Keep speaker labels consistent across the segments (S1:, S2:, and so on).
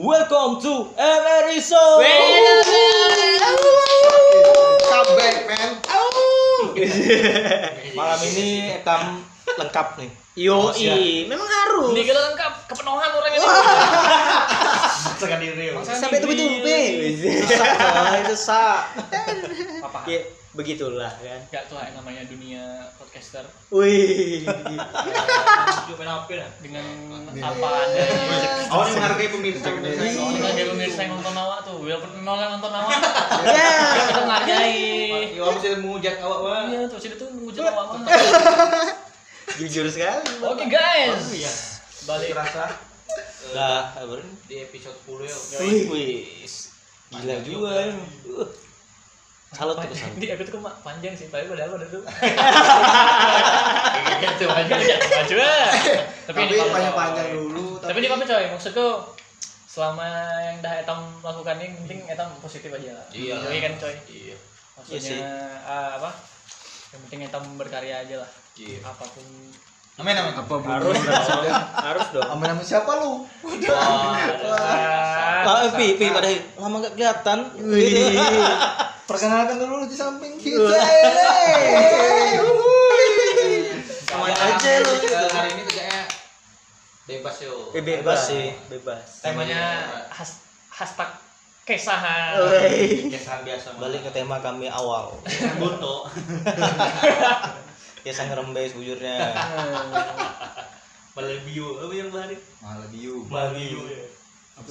S1: Welcome to MRI Show.
S2: Comeback, man.
S1: Malam ini etam lengkap nih.
S3: Yo,
S1: Harus ya.
S3: memang harus.
S4: Ini kita lengkap kepenuhan orang ini.
S2: Masakan diri.
S3: Sampai tubuh tumpi.
S1: Sesak, coy, sesak.
S4: Apa?
S3: Ya, begitulah kan.
S4: Gak tuh yang namanya dunia podcaster
S3: Wih.
S4: juga main HP lah dengan
S2: Nih.
S3: Iya.
S4: apa ada
S2: Awas menghargai pemirsa. Iya, pemirsa.
S4: soalnya kan ada pemirsa yang nonton awak tuh walaupun nol yang nonton awak
S3: Ya.
S4: kita menghargai
S2: Iya, kamu sudah mengujak awak, wah.
S4: iya tuh sini tuh ngujat awak
S3: Jujur sekali.
S4: oke guys balik
S2: Terasa
S1: Udah, kabar ini.
S2: di episode 10 ya.
S1: Wih, wis. Gila juga ya. Uh. Salut tuh salut.
S4: di episode kok panjang sih tapi padahal pada tuh
S2: Gitu
S4: aja
S2: aja.
S4: aja Iya, maju ah.
S2: Tapi
S4: ini kamu,
S2: panjang-panjang
S4: coy.
S2: dulu.
S4: tapi ini kamu coy maksudku selama yang dah etam lakukan ini penting etam positif aja lah
S2: Iya.
S4: Iya kan coy
S2: Iya.
S4: maksudnya
S1: sih.
S4: ah, apa yang penting etam berkarya aja lah
S2: Iya.
S4: apapun
S2: Amin, amin. Apa
S3: Harus dong. Harus dong.
S2: Amin, amin siapa lu?
S4: Ah,
S1: Lah, eh, Pi, Pi, pada lama gak kelihatan. Gitu.
S3: Wih.
S2: Perkenalkan dulu di samping Iya.
S1: Sama aja lu.
S2: Iya. Hari ini kerjanya bebas yo.
S3: Eh, bebas sih, bebas.
S4: temanya has, hashtag
S1: Oh, iya.
S4: kesahan
S3: Wih.
S2: Kesan biasa.
S1: Balik ke tema kami awal.
S2: Bunto.
S1: Ya sang rembes bujurnya.
S2: Malabio. Apa yang balik? ya. Malabio.
S1: Melayu.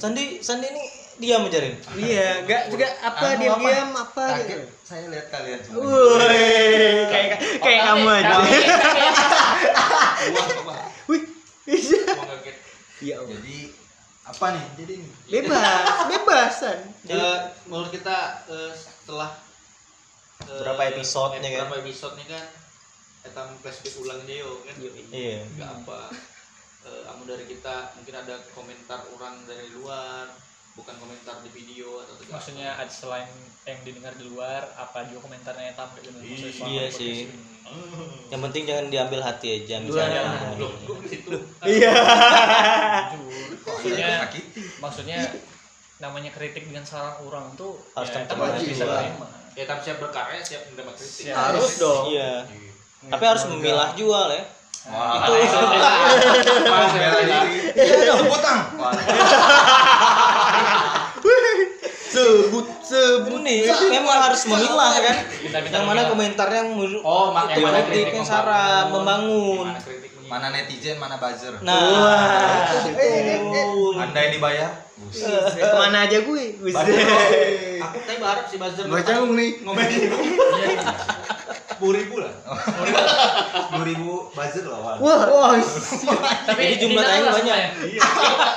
S1: Sandi, Sandi ini diam aja Rin.
S3: Iya, enggak juga apa
S2: Anu,
S3: dia diam apa
S2: Kaget.
S3: gitu.
S2: Saya lihat kalian semua.
S3: Wih, kayak kayak kamu aja.
S2: Wah, wah.
S3: Wih.
S2: Gua kaget.
S3: Ya Allah.
S2: Jadi apa nih? Jadi ini.
S3: Bebas, bebasan.
S1: Iya,
S2: Eh, menurut kita eh, setelah eh,
S1: Berapa episode nih, kan?
S2: Berapa episode nih kan? Kita flashback ulang aja yo kan.
S1: Iya.
S2: Enggak apa. Eh, kamu dari kita mungkin ada komentar orang dari luar, bukan komentar di video atau tidak.
S4: maksudnya ada selain yang didengar di luar apa juga komentarnya etam gitu Maksudnya selama
S1: Iya
S4: podcast
S1: sih.
S4: ini.
S1: Yang penting jangan diambil hati aja misalnya.
S4: Wah.
S2: Loh, gua ke situ.
S3: Iya.
S4: Jujur. Hmm, maksudnya
S2: Sakiti.
S4: maksudnya namanya kritik dengan saran orang tuh
S1: Harus
S4: ya, etam
S1: terima
S4: harus bisa
S1: juga.
S4: terima
S2: Ya, tapi siap berkarya, siap menerima kritik.
S4: Siap.
S3: Harus dong.
S1: Iya. Tapi harus memilah jual ya.
S2: Wah, Iya
S4: Itu-
S2: itu Wah,
S5: Iya
S2: bela diri. Potong.
S3: Sebut sebut
S1: Ini memang harus memilah kan.
S4: kita minta
S1: Yang mana
S4: memilah.
S1: komentarnya yang menurut
S2: Oh, mak
S1: itu
S2: yang mana
S1: kritik yang saran membangun.
S2: Mana kritik membangun.
S5: mana netizen mana buzzer
S1: Nah, Eh,
S3: Wah.
S1: betul.
S5: anda yang dibayar
S3: Kemana aja gue? Wih.
S2: Aku tapi berharap si buzzer
S5: Gua canggung nih.
S2: Ngomelin. Sepuluh ribu lah.
S5: dua ribu buzzer lawan
S3: Wah, wah.
S4: tapi
S1: Jadi jumlah
S4: ini
S1: tayang
S4: salah
S1: banyak.
S4: sebenarnya.
S2: Iya,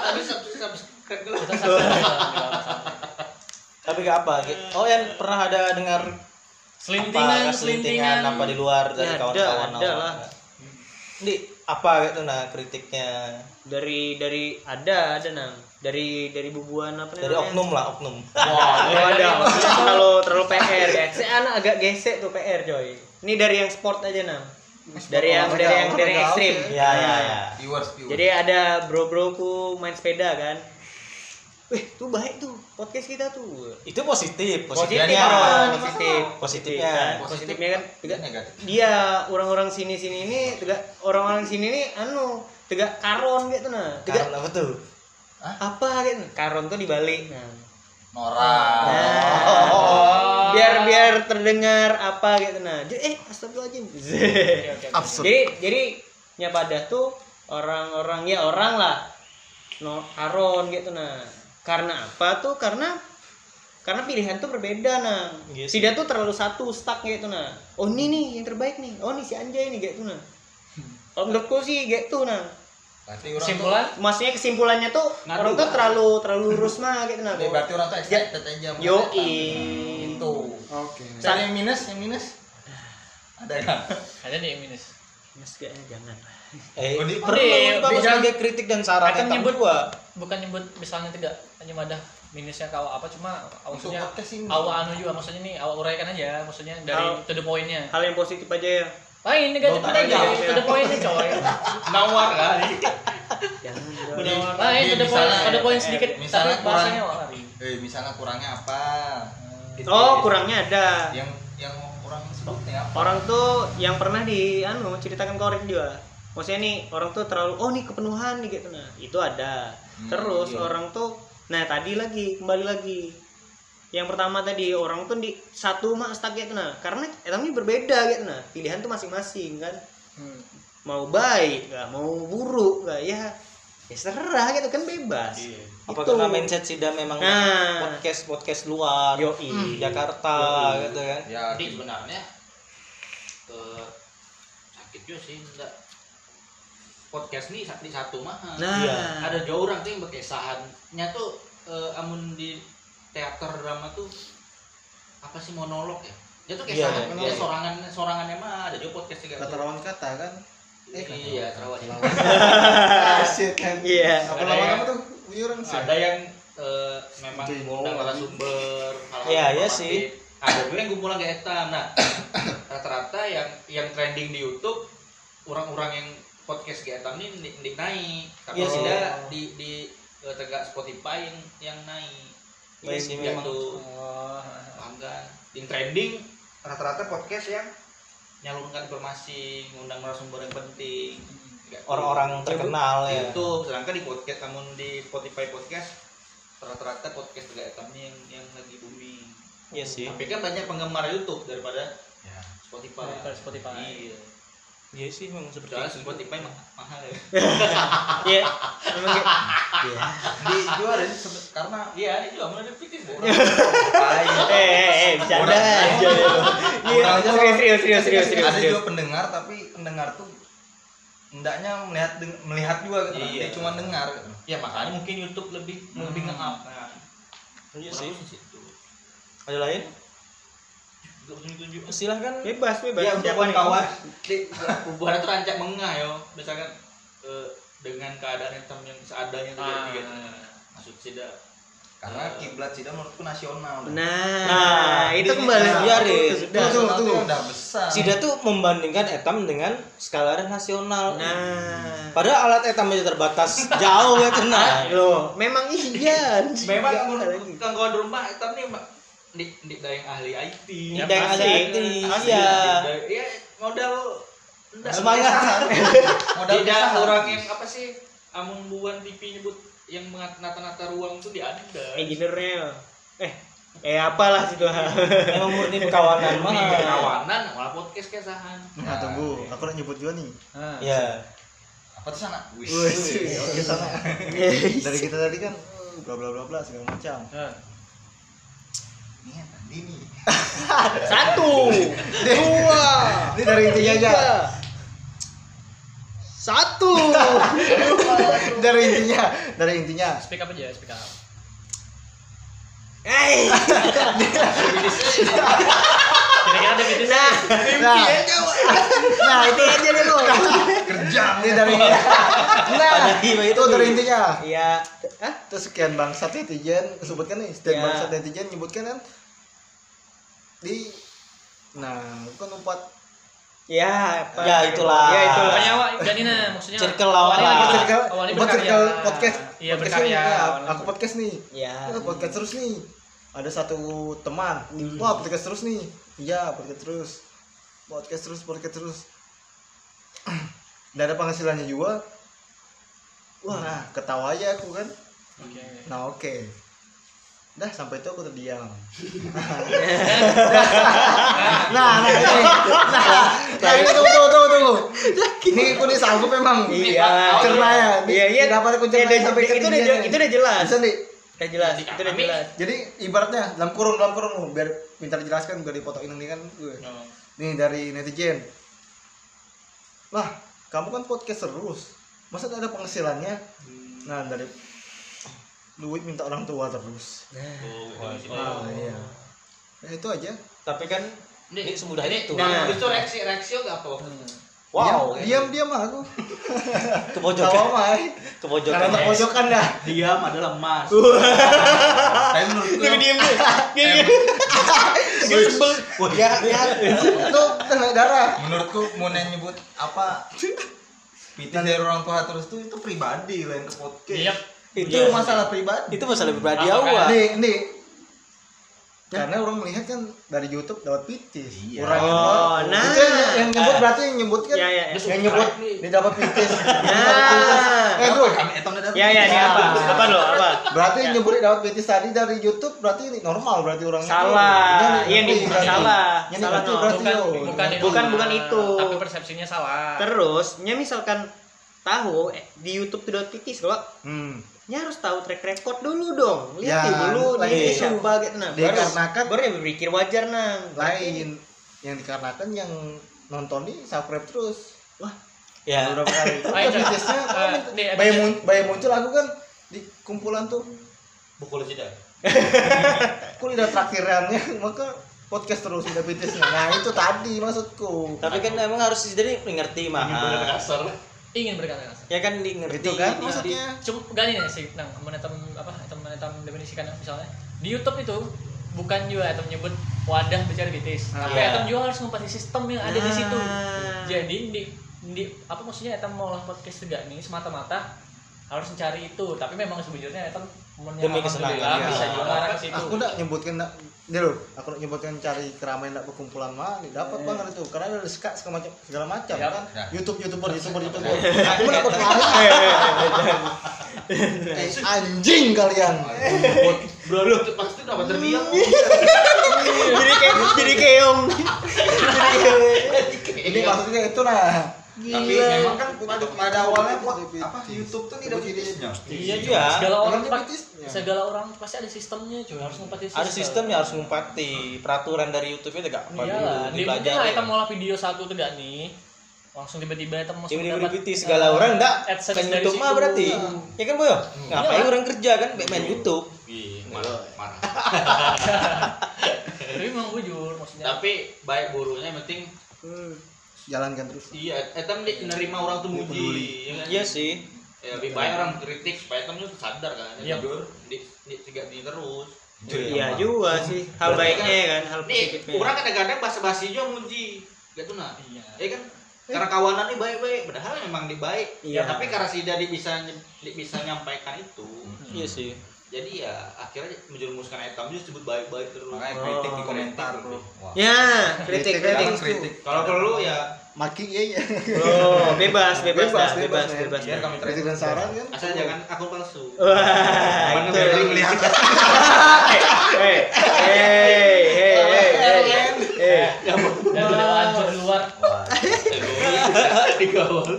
S2: Tapi satu subscribe lah.
S4: Kita salah.
S1: Tapi gak apa. Oh, yang pernah ada dengar
S4: selintingan
S1: apa
S4: selintingan
S1: selintingan apa di luar
S3: Ya,
S1: dari
S3: ada,
S1: kawan-kawan
S3: ada
S1: awal.
S3: lah.
S1: Di apa gitu nah kritiknya
S3: Dari dari ada ada nang. Dari dari bubuan apa
S1: dari
S3: namanya?
S1: oknum lah oknum.
S4: Wah,
S3: Oh, ada. Maksudnya terlalu terlalu ya. PR guys. Saya anak agak gesek tuh PR coy. Ini dari yang sport aja nang. Iya, Dari yang dari yang dari yang ekstrim. Nah.
S1: Ya ya ya.
S5: viewers viewers
S3: Jadi ada bro-broku main sepeda kan. Wih, tuh baik tuh podcast kita tuh.
S1: Itu positif,
S3: Positif,
S1: positifnya.
S3: kan? positif.
S1: Positifnya.
S3: Kan? Positifnya
S5: Positifnya
S3: kan tegak-
S5: negatif
S3: dia orang-orang sini sini ini tegak orang-orang sini ini anu tegak karon gitu nah. Tegak
S1: Karena apa tuh?
S3: apa gitu. Karon tuh dibalik. Nah.
S5: norak
S3: Nah, biar biar terdengar apa gitu nah. Jadi, eh astagfirullahaladzim. jadi jadi nyapadah tuh orang-orang ya orang lah. No karon gitu nah. Karena apa tuh? Karena karena pilihan tuh berbeda nah.
S1: Gitu.
S3: Si dia tuh terlalu satu stuck gitu nah. Oh ini nih yang terbaik nih. Oh ini si Anjay nih gitu nah. Kalau menurutku sih gitu nah.
S5: berarti orang tuh
S4: kesimpulan
S3: Maksudnya kesimpulannya tuh
S2: Ngadu,
S3: orang tuh
S2: kan?
S3: terlalu terlalu lurus mah gitu nah.
S5: ya, berarti orang tuh excited aja mau
S3: Yo
S5: datang. itu
S2: Oke.
S5: Cari yang minus yang minus ada nggak
S4: ada nih yang minus
S3: Mas kayaknya jangan.
S1: Eh,
S5: Oh, di-
S1: perlu
S4: di-
S1: Pak,
S4: di-
S1: sebagai kritik dan saran.
S4: Akan
S1: Kita
S4: nyebut-
S1: dua.
S4: bukan nyebut misalnya tidak hanya madah minusnya kalau apa cuma
S5: Untuk
S4: maksudnya
S5: podcast ini.
S4: awal anu juga maksudnya nih awal uraikan aja maksudnya dari
S3: Awal-
S4: to the pointnya
S3: Hal yang positif aja ya.
S4: lain ini kan cepet aja
S3: aja.
S4: to the pointnya coy
S2: Nawar kali.
S3: jangan dong.
S5: Jadi,
S4: Nah, itu
S5: jadi
S4: ada poin,
S5: misalnya- eh, ya,
S4: ada poin sedikit.
S5: misalnya
S4: tapi
S5: kurang-
S4: bahasanya lari.
S5: eh misalnya kurangnya apa
S3: Oh, kurangnya ada.
S5: yang yang kurang sebutnya apa
S3: Orang tuh yang pernah di anu ceritakan ke orang juga. Maksudnya nih orang tuh terlalu oh nih kepenuhan nih gitu nah. Itu ada.
S5: Hmm,
S3: Terus
S5: iya.
S3: orang tuh nah tadi lagi kembali lagi. Yang pertama tadi orang tuh di satu mah stuck gitu nah. Karena orang ini berbeda gitu nah. Pilihan tuh masing-masing kan.
S4: Hmm.
S3: Mau baik, nggak mau buruk, nggak ya ya serah gitu kan bebas.
S2: Iya.
S1: Apa
S3: Itu.
S1: karena mindset Sida memang
S3: Nah, iya.
S1: podcast podcast luar
S3: yoi.
S1: Jakarta
S3: Yoi.
S1: gitu kan?
S5: ya
S2: Jadi sebenarnya eh, sakit juga sih enggak podcast nih sakit satu mah.
S3: Nah,
S1: Iya.
S2: Ada jauh orang tuh yang berkesahannya tuh eh, amun di teater drama tuh apa sih monolog ya? Dia tuh
S1: Iya, eh,
S2: kesahan,
S5: monolog.
S2: dia sorangan sorangannya mah ada juga podcast juga.
S5: kata lawan kata kan
S2: Iya, terawat.
S5: shit kan
S3: Iya.
S5: apa
S2: Ada
S5: lawan
S2: yang-
S5: apa tuh uyuran sih
S2: Ada yang eh, memang
S5: Itu yang
S2: udah
S5: bohong lagi.
S2: narasumber, hal-hal
S1: Iya, iya
S2: informatif.
S1: sih.
S2: Ada juga yang kumpulan kayak eta. Nah, rata-rata yang yang trending di YouTube orang-orang yang podcast kayak eta ini ndi- ndi naik. Tapi
S1: Iya
S2: tidak
S1: sih.
S2: di di eh, tegak Spotify yang yang naik.
S1: Iya sih,
S2: Yang
S1: memang.
S2: tuh
S4: Oh.
S2: gitu. bangga. Yang trending rata-rata podcast yang nyalurkan informasi, ngundang narasumber yang penting. Kayak gitu.
S1: Orang-orang terkenal ya.
S2: Di
S3: iya.
S2: YouTube sedangkan di podcast namun di Spotify podcast rata-rata podcast juga etam yang yang lagi booming
S1: Iya sih.
S2: tapi kan banyak penggemar YouTube daripada
S5: Ya.
S2: Spotify
S4: Daripada Spotify.
S2: iya
S1: Iya sih memang seperti
S2: soalnya
S1: itu.
S2: Spotify ma- mahal ya
S3: Iya. Memang kayak- Iya.
S5: di juara ini sebe- karena
S2: iya ini juga mulai fiktif deh
S3: eh, eh, eh, bercanda
S5: Orang-
S3: aja ya. Iya,
S5: Orang-
S3: serius, serius, serius, serius, serius,
S5: ada
S3: serius.
S5: juga pendengar tapi pendengar tuh hendaknya melihat deng- melihat juga gitu
S2: Iya.
S5: dia cuma dengar gitu.
S2: ya makanya mungkin YouTube lebih lebih nge-up nah
S1: Iya sih.
S2: kurang di situ
S1: Ada lain?
S2: Untuk tunjuk-tunjuk.
S1: Silahkan.
S3: Bebas, bebas.
S5: Iya,
S2: ya untuk
S3: Siapa nih?
S2: kawan-kawan di- hubungan itu rancak mengah yo misalkan eh, dengan keadaan hitam yang seadanya tuh
S4: Ah.
S2: gitu. maksud tidak
S5: karena kiblat sih menurutku nasional
S3: Nah,
S1: Nah,
S3: itu
S5: ini-
S3: kembali
S5: nah,
S3: Iya,
S1: Rin.
S3: itu
S5: Itu
S3: sudah.
S5: tuh, tuh, tuh. udah besar
S1: Sida tuh membandingkan etam dengan skala nasional.
S3: Nah, Ah,
S1: Padahal alat etam aja terbatas jauh ya kena.
S3: loh, memang iya. anjing.
S2: memang
S3: Nggak
S2: menurut
S3: ada lagi.
S2: kawan rumah hitam nih mbak di di yang ahli IT
S1: Ini
S4: Ya,
S1: yang ada
S4: pasti.
S1: itu.
S3: Pasti.
S1: Iya.
S2: ya modal ndak
S1: Semangat.
S5: modal
S2: tidak
S5: besar.
S2: orang yang apa sih amun buan TV nyebut yang mengat- nata-nata ruang tuh di ada
S3: Eh, Engineer-nya. Eh, eh apalah situ.
S1: Memang murni perkawanan mah.
S2: kawanan malah podcast kesahan
S5: nah tunggu
S6: aku udah nyebut juga nih
S4: Ah.
S1: Iya.
S5: apa tuh sana wis
S6: oke sana dari kita tadi kan bla bla bla bla segala macam
S4: Ah.
S5: ini yang tadi nih
S3: Satu, dua,
S6: ini dari intinya aja
S3: tiga. Satu.
S6: dari intinya dari intinya
S4: Speak up aja, speak up.
S3: Eh,
S4: Kira-kira ada gitu
S3: nah,
S6: nah nah itu aja deh lo
S5: kerja
S6: ini dari nah itu dari intinya
S3: Iya. Hah?
S6: terus sekian bangsat netizen sebutkan nih setiap
S3: Ya.
S6: bangsat netizen nyebutkan kan di nah bukan empat
S3: Ya, apa?
S1: Ya, itulah.
S3: Ya, itulah.
S4: Pokoknya awak gak nih nah, maksudnya.
S1: Circle lawan
S4: awalnya
S1: lah.
S4: lagi-
S6: circle
S4: awalnya
S6: buat
S4: berkarya.
S6: circle podcast
S4: Iya,
S6: podcast nih,
S4: berkarya.
S6: ya,
S4: awalnya.
S6: aku podcast nih
S3: Ya.
S6: Nah, podcast terus nih. Ada satu teman.
S4: Hmm.
S6: Wah, podcast terus nih. Iya, podcast terus. Podcast terus, podcast terus. Nggak ada penghasilannya juga. Wah, nah, ketawa aja aku kan.
S4: Oke.
S6: Nah, oke. Dah, sampai itu aku terdiam. nah, nah, ini. Nah, nah, ini tunggu, tunggu, tunggu, tunggu. Ini aku nih sanggup memang.
S3: Iya.
S6: Cerna ya. Ini
S3: Iya, iya.
S6: Dapat aku
S3: Ya,
S6: cerna
S3: udah-
S6: sampai ke
S3: itu udah
S6: dirinya.
S3: itu udah jelas.
S6: Bisa nih.
S3: Udah jelas, itu udah jelas.
S6: Jadi ibaratnya dalam kurung dalam kurung oh, biar pintar dijelaskan gak dipotokin ini kan gue.
S2: Oh.
S6: Nih dari netizen. Lah, kamu kan podcast terus. Masa nggak ada penghasilannya?
S2: Hmm.
S6: Nah, dari duit minta orang tua terus.
S2: Oh,
S6: Nah, iya. Nah, itu aja.
S1: Tapi kan ini semudah itu. Hmm.
S2: nah itu reaksi reaksi gak apa waktu itu?
S3: Ya,
S1: Wow.
S6: Diam diam mah aku. Tawa
S1: Kepojokan.
S6: mah. Karena
S1: Kepojokan.
S6: terpojokan dah.
S2: diam adalah emas
S5: tapi menurutku
S3: Dia diem dia. Dia diem. Dia sebel.
S1: Iya. Wah, ya, ya.
S6: Itu kena darah.
S5: menurutku mau nyebut apa pitan dari orang tua terus tuh itu pribadi lain ke podcast.
S4: Iya.
S5: Itu masalah pribadi.
S1: Itu masalah pribadi
S4: Apa
S1: awak.
S6: Nih, nih. Karena orang melihat kan dari YouTube lewat pitis.
S5: Iya.
S6: Orang yang-
S3: Oh, nah.
S6: Itu yang, yang nyebut berarti yang nyebut kan
S3: Ya ya. ya.
S6: yang nyebut
S2: nih.
S6: dia dapat pitis.
S3: Nah.
S6: eh bro,
S5: Kami eton ada.
S3: Ya ya ini apa? Apa lo? Apa?
S6: berarti
S5: Ya.
S6: yang nyebut dia dapat pitis tadi dari YouTube berarti ini normal berarti orang
S3: Salah. Iya nih,
S6: berarti.
S3: salah.
S6: Ini
S3: Salah
S6: berarti-
S3: no.
S6: berarti-
S4: bukan
S6: Iya.
S4: bukan itu
S3: Bukan- bukan itu.
S4: tapi persepsinya salah
S3: Terus, nya misalkan tahu eh, di YouTube tuh titis kalau
S6: Hmm.
S3: nya ya harus tahu track record dulu dong. Lihat
S6: Ya,
S3: di dulu
S6: lain
S3: nih
S6: itu.
S3: siapa gitu nah. Baru
S6: Dikarenakan
S3: baru yang berpikir wajar nang.
S6: lain yang dikarenakan yang nonton nih subscribe terus
S1: Ya.
S6: beberapa kali.
S4: Ayo,
S6: Kan BTS-nya
S4: eh,
S6: kan
S4: nih, ada-
S6: bayi, mun- bayi muncul aku kan di kumpulan tuh
S2: Bukul aja dah.
S6: aku lihat traktirannya maka podcast terus udah BTS-nya. Nah, itu tadi maksudku.
S1: Tapi kan emang harus jadi ngerti
S2: Bener
S1: mah.
S2: kasar.
S4: ingin berkata kasar
S1: Ya kan di ngerti.
S6: Gitu kan
S1: di-
S6: maksudnya.
S4: cuma gini nih sih nang menetam apa etam menetam definisikan kan, misalnya di YouTube itu bukan juga etam nyebut wadah bicara BTS tapi
S1: Iya.
S4: etam juga harus ngempati sistem yang ada di situ
S3: Ah.
S4: jadi di, di apa maksudnya etam mau olah podcast juga nih semata-mata harus mencari itu tapi memang sejujurnya etam
S1: Demi kesenangan, iya.
S4: bisa juga ngarah ke situ
S6: Aku udah nyebutkan nak dia loh, aku udah nyebutkan cari keramaian nak berkumpulan mah, nih,
S2: Iya.
S6: dapat banget itu karena ada ska segala macam segala macam
S4: Yap.
S6: kan.
S2: Nah.
S6: YouTube youtuber youtuber youtuber.
S2: Iya.
S6: Nah, Aku udah aku dengar.
S2: iya.
S6: Eh, anjing kalian.
S2: Bro lu pasti dapat terbiang.
S3: jadi kayak jadi keong.
S2: Iya.
S6: Ini maksudnya itu nah.
S5: Tapi memang kan pada, pada awalnya pot, apa YouTube tuh tidak bisnisnya.
S1: Iya juga.
S4: segala orang
S6: Orangnya
S4: pa-
S6: BTS-nya.
S4: segala orang pasti ada sistemnya cuy harus ngempati sistem
S1: Ada sistem ya harus ngumpati peraturan dari YouTube-nya tegak apa dulu
S4: Iyalah, di mungkin
S1: dipelajari.
S4: item olah video satu tegak nih. Langsung tiba-tiba item masuk
S1: Tiba-tiba dipiti segala orang enggak kan YouTube mah berarti. Ya kan Boyo? Ngapain
S4: Iyalah.
S1: orang kerja kan Be- main YouTube?
S2: Ih, marah, marah.
S4: Tapi memang jujur maksudnya.
S2: Tapi baik buruknya yang penting
S6: Jalankan terus.
S2: iya etam di- nerima orang tuh muji. ya kan?
S1: Iya sih.
S2: Ya, lebih baik orang kritik supaya etam tuh sadar kan.
S4: Iya.
S2: Ya, jujur di di tiga di terus.
S3: Iya juga sih. Hal baiknya ya kan, hal
S2: Nih,
S3: positifnya.
S2: orang kadang-kadang bahasa-bahasa juga muji. Gitu nah.
S4: Iya.
S2: Ya kan? Karena kawanan ini baik-baik, padahal memang di baik. Ya,
S3: Iya.
S2: tapi karena si Dadi bisa nye- di- bisa nyampaikan itu,
S1: Iya sih.
S2: jadi ya akhirnya menjerumuskan etam juga disebut baik-baik terus.
S5: Makanya kritik di komentar bro. Wah.
S3: Ya, kritik kritik.
S5: Sekarang kritik.
S2: Kalau perlu ya
S6: Maki iya iya.
S3: Oh, bebas bebas
S6: Bebas,
S3: dah,
S6: bebas,
S3: bebas Ya.
S6: men.
S3: bebas.
S2: biar kami
S6: Kritik
S2: terus.
S6: dan saran kan.
S2: Asal jangan aku palsu.
S3: Wah,
S2: Mana
S3: itu.
S2: beli melihat
S3: Hey, hey, hey, hey, hey, hey.
S4: Dan udah lanjut di luar.
S2: Iya. di gawang.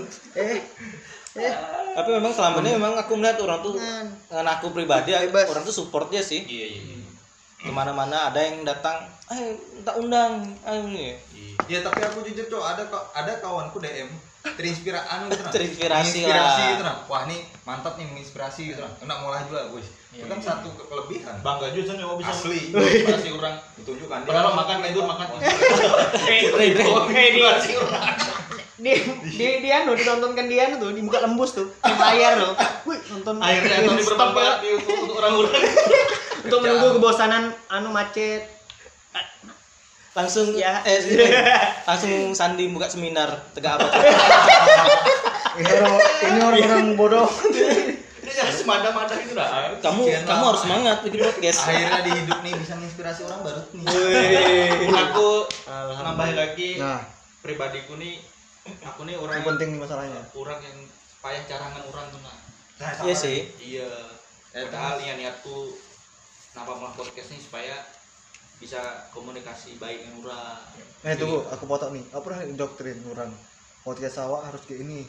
S1: Tapi memang selama ini memang aku melihat orang tuh dengan aku pribadi eh, orang tuh support dia sih.
S2: Iya iya.
S1: Kemana-mana ada yang datang, eh tak undang, ayo ini.
S5: Ya tapi aku jujur tuh ada ko- ada kawanku DM terinspirasi anu gitu nah.
S1: Terinspirasi
S5: Menginspirasi
S1: lah.
S5: gitu nah. Wah nih mantap nih menginspirasi gitu nah. Enak ngolah juga guys.
S1: Iya,
S5: Itu kan satu ke- kelebihan.
S2: Bangga juga nyoba bisa
S5: Asli.
S2: kasih orang.
S5: Ditunjukkan dia.
S2: Padahal makan tidur makan tidur. Eh,
S3: Hey,
S2: oh,
S3: hey, dia, dia, dia, dia, anu, ditontonkan dia anu tuh, dibuka lembus tuh, di layar tuh. Wih, nonton
S2: Akhirnya itu bermanfaat di YouTube untuk orang-orang.
S3: untuk menunggu kebosanan anu macet.
S1: Langsung
S3: Ya.
S1: eh ini, langsung Sandi buka seminar tegak apa tuh.
S6: Ini orang ini orang orang bodoh.
S2: Ini jangan semada-mada itu dah.
S1: Kamu
S5: Sekian
S1: kamu
S5: lama.
S1: harus semangat bikin podcast.
S5: Akhirnya di hidup nih bisa menginspirasi orang baru nih.
S1: Iya,
S2: eh. Aku nambahin lagi
S6: Nah,
S2: pribadiku nih aku nih orang
S6: yang penting nih masalahnya.
S2: orang yang payah carangan orang tuh nah.
S5: Nah, sama
S1: Iya sih.
S2: Iya. Padahal ya niatku kenapa malah podcast ini supaya bisa komunikasi baik dengan orang.
S6: Eh tunggu, aku potong nih. Apa nih doktrin orang? Podcast sawah harus kayak ini.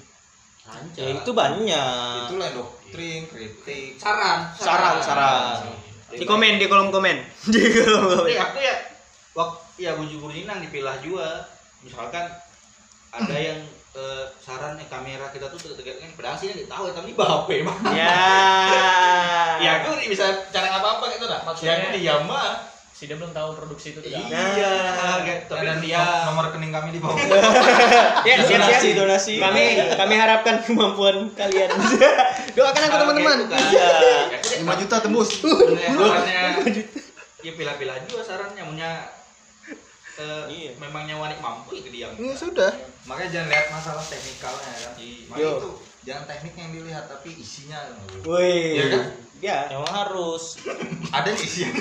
S2: Lancar.
S1: Ya itu banyak.
S5: Itulah doktrin, kritik.
S2: saran,
S1: Saran, saran.
S3: Di komen, di kolom komen.
S7: Iya,
S3: Di kolom komen.
S2: Tapi aku ya waktu ya bujur-bujur nang dipilah juga. Misalkan ada yang eh, saran yang kamera kita tuh tegak-tegak kan padahal sih nggak tahu ya tapi bape mah.
S3: Ya.
S2: Ya aku nih bisa cara apa-apa gitu dah.
S4: Maksudnya-
S2: ya aku diam mah.
S4: Si dia belum tahu produksi itu tidak.
S2: Iya, kayak- tapi
S5: Dan
S2: dia
S1: Iya.
S5: nomor rekening kami di bawah.
S3: Ya,
S2: Iya,
S1: Donasi,
S3: siap-siap.
S1: donasi.
S3: Kami kami harapkan kemampuan kalian. Doakan aku teman-teman.
S2: Iya.
S6: 5 juta tembus.
S2: Sebenarnya sarannya ya pilih-pilih aja sarannya punya eh,
S1: Iya.
S2: memang nyawa nih mampu ya kediam.
S7: ini sudah
S5: Makanya jangan lihat masalah teknikalnya kan.
S2: Iya.
S5: Makanya
S7: Yo.
S5: itu jangan tekniknya yang dilihat tapi isinya.
S1: Wih.
S5: Iya kan?
S1: Ya, emang harus.
S5: Ada nih isinya.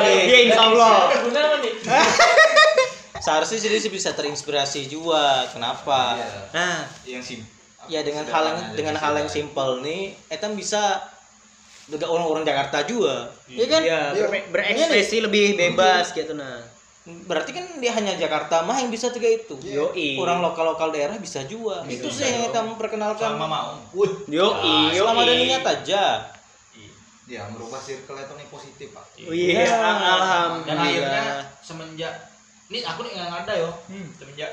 S1: Iya, insya Allah.
S4: Guna apa nih?
S1: Seharusnya sih dia sih bisa terinspirasi juga. Kenapa?
S5: Iya.
S1: Nah,
S5: yang sim.
S1: ya dengan hal yang
S5: Sederhana,
S1: dengan
S5: jadi
S1: hal yang
S5: sederhana.
S1: simpel nih, Etam bisa juga orang-orang Jakarta juga, Iya kan?
S4: Iya,
S7: Iya.
S1: ber- berekspresi lebih bebas gitu nah. Berarti kan dia hanya Jakarta mah yang bisa tiga itu.
S4: Yoi.
S1: Orang lokal-lokal daerah Iya. bisa juga. itu sih yang kita memperkenalkan.
S2: Sama mau. Wih,
S1: Yoi,
S4: Yoi.
S1: selama ada niat aja.
S2: Iya.
S5: Ya merubah circle itu nih positif pak.
S1: Iya,
S2: dan akhirnya semenjak ini aku nih nggak ada yo
S4: Hmm.
S2: semenjak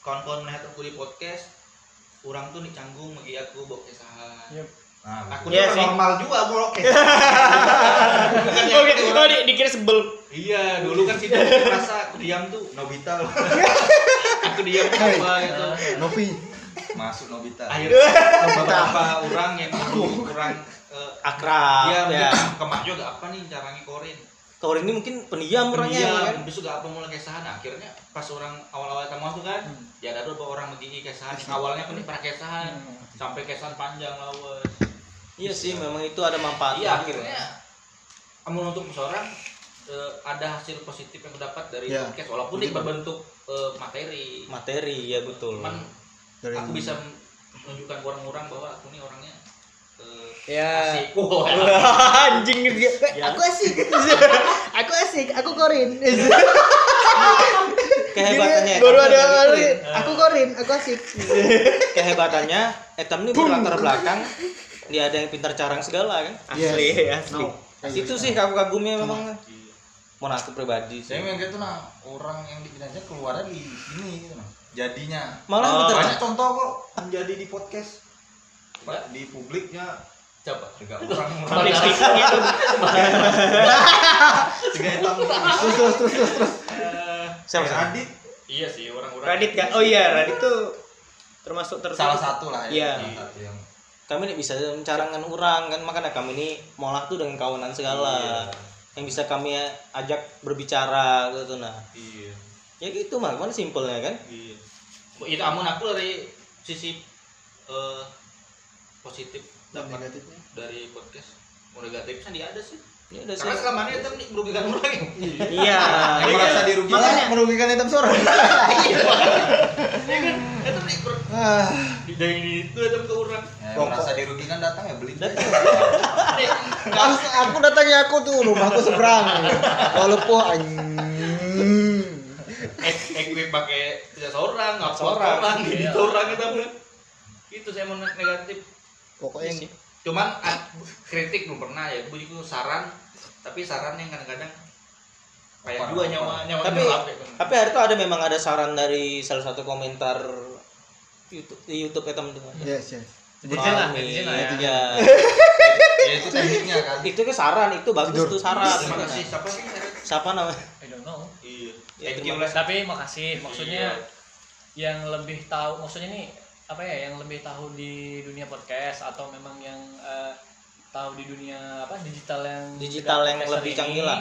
S2: kawan-kawan melihat aku di podcast orang tuh nih canggung bagi aku bawa kesahan
S4: Yep.
S5: Nah,
S2: aku
S1: Iya
S2: nih
S1: sih.
S2: orang normal juga bro
S7: Iya,
S1: Oh, gitu. Oh, di- dikira sebel.
S2: iya dulu kan situ aku merasa aku diam tuh
S5: Nobita loh.
S2: aku diam tuh apa gitu
S7: Novi
S5: masuk Nobita.
S2: akhirnya beberapa orang yang aku kurang eh,
S1: Akrab
S2: dia
S1: ya.
S2: kemah juga apa nih caranya korin
S1: Kalau ini mungkin pendiam orangnya ya kan.
S2: Iya, habis juga apa mulai kesahan akhirnya pas orang awal-awal ketemu aku kan
S4: Hmm.
S2: ya ada beberapa orang begini kesahan Yang awalnya aku nih pernah kesahan
S4: Hmm.
S2: sampai kesan panjang lawas
S1: Iya sih, memang itu ada manfaat
S2: iya akhirnya amun untuk seorang eh, ada hasil positif yang kudapat dari
S7: Iya.
S2: podcast walaupun ini berbentuk eh, materi
S1: Materi ya betul.
S2: cuman
S7: Dari-
S2: aku bisa menunjukkan ke orang-orang bahwa aku nih orangnya eh,
S3: Iya.
S1: Ya.
S2: asik Wah,
S7: Iya.
S1: Anjing gitu.
S3: Eh,
S1: Aku asik. aku asik, aku korin.
S7: Iya,
S1: Kehebatannya.
S7: baru
S1: Etam
S7: ada
S1: tuh gitu,
S7: kali.
S1: Lin.
S7: aku korin aku asik
S1: Kehebatannya Etam ini berlatar belakang dia ada yang pintar carang segala kan.
S7: Asli,
S1: asli. Itu sih kagum kagumnya memang. Mau aku pribadi sih.
S5: Saya memang gitu nah orang yang di Binanjar keluarnya di sini gitu nah. Jadinya
S1: Malah
S5: Oh,
S1: pintar
S5: banyak contoh kok menjadi di podcast
S2: Enggak.
S5: di publiknya
S2: Iya. coba
S5: juga orang orang
S4: Public speaking itu.
S5: juga hitam
S7: terus terus terus terus terus
S1: Siapa sih?
S5: Adit
S2: iya sih orang-orang
S1: Radit kan? Oh iya, Radit tuh termasuk ter
S5: salah satu lah
S1: Iya.
S5: ya salah satu yang
S1: Kami ini bisa mencarangkan orang kan makanya kami ini molah tuh dengan kawanan segala yang bisa kami ajak berbicara gitu nah.
S2: iya
S1: Ya gitu mah, kan simpelnya kan.
S2: Iya. Itu amun aku dari sisi eh, positif dapat
S7: negatifnya
S2: dari podcast. Mau negatifnya dia ada Iya sih.
S1: Ya udah sih.
S2: Karena selama ini itu nih merugikan orang. ya.
S1: Iya.
S5: Yang merasa dirugikan
S7: malah merugikan hitam sore
S2: Iya kan? Itu nih ber-
S7: Ah,
S2: di- dari itu itu ke orang.
S5: Ya, yang
S7: Rokok.
S5: merasa dirugikan datang ya beli
S2: Nih,
S7: harus aku datangnya aku tuh rumahku seberang walaupun anjing
S2: ek- ek gue pakai tidak seorang, nggak
S1: Seorang.
S2: seorang, orang, gitu orang kita pun. Itu saya mau negatif.
S7: pokoknya
S1: Iya sih.
S2: Cuman ah, kritik belum pernah ya. Gue juga saran, tapi saran yang kadang-kadang kayak
S5: Apa,
S2: dua
S5: apa.
S2: nyawa nyawa
S1: Tapi-
S2: nyawa apa ya, kan.
S1: Tapi hari itu ada memang ada saran dari salah satu komentar YouTube di YouTube ya teman-teman.
S7: yes yes
S4: Netizen lah, netizen lah ya.
S1: Itu ya.
S5: ya itu tekniknya kan
S1: Itu kan saran, itu bagus
S7: Tidur.
S1: tuh saran.
S2: Terima kasih. Siapa sih? yang-
S1: Siapa namanya?
S4: I don't know.
S2: Iya.
S1: Ya,
S2: Thank you
S1: terima
S2: lah.
S4: Tapi makasih.
S2: Iya.
S4: Maksudnya yang lebih tahu maksudnya nih apa ya yang lebih tahu di dunia podcast atau memang yang eh, tahu di dunia apa digital yang
S1: Digital
S4: tidak
S1: yang
S4: podcaster
S1: lebih
S4: ini.
S1: canggih lah.